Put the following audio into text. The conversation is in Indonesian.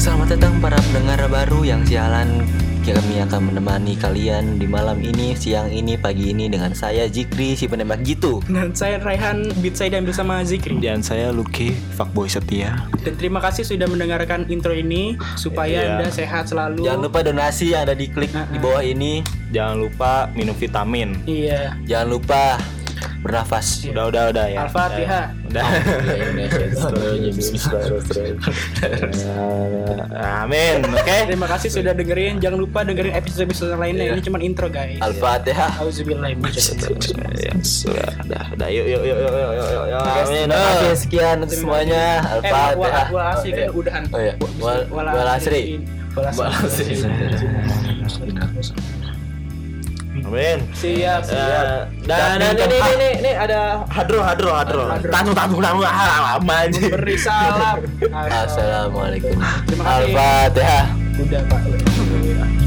para pendengar baru yang sialan kami akan menemani kalian di malam ini, siang ini, pagi ini dengan saya Jikri si penembak gitu. Dan Nah, saya Raihan Beat saya dan bersama Iya. Zikri Dan saya Lucky, fuckboy setia. Dan terima kasih sudah mendengarkan intro ini Supaya Iya. anda sehat selalu Jangan lupa donasi yang ada di klik di bawah ini. Jangan lupa minum vitamin. Iya Jangan lupa bernafas. Udah, udah, udah ya. Al-Fatihah. Udah. iya, Udah. Amin. Iya. Oke. Eh. Terima kasih sudah dengerin Jangan lupa dengerin episode-episode lainnya Ini cuma intro guys Al-Fatihah. Auzubillahiminasyaitonirrajim. Ya, sudah. Udah, udah. Yuk, yuk, yuk, yuk, yuk, yuk, yuk, yuk. Oke, Amin. terima Oh. kasih sekian untuk semuanya. Eh, wala, Al-Fatihah. wala asri kan udahan. Oh, iya. Wal- wal asri. Wala asri. Amin. Siap, siap. Eh, dan dan ini ini ini, ini ada hadro hadro hadro Eh, Hadro. tamu tamu tamu ah lama aja Beri salam. Assalamualaikum. Terima kasih. Al-Fatihah. Udah, Pak.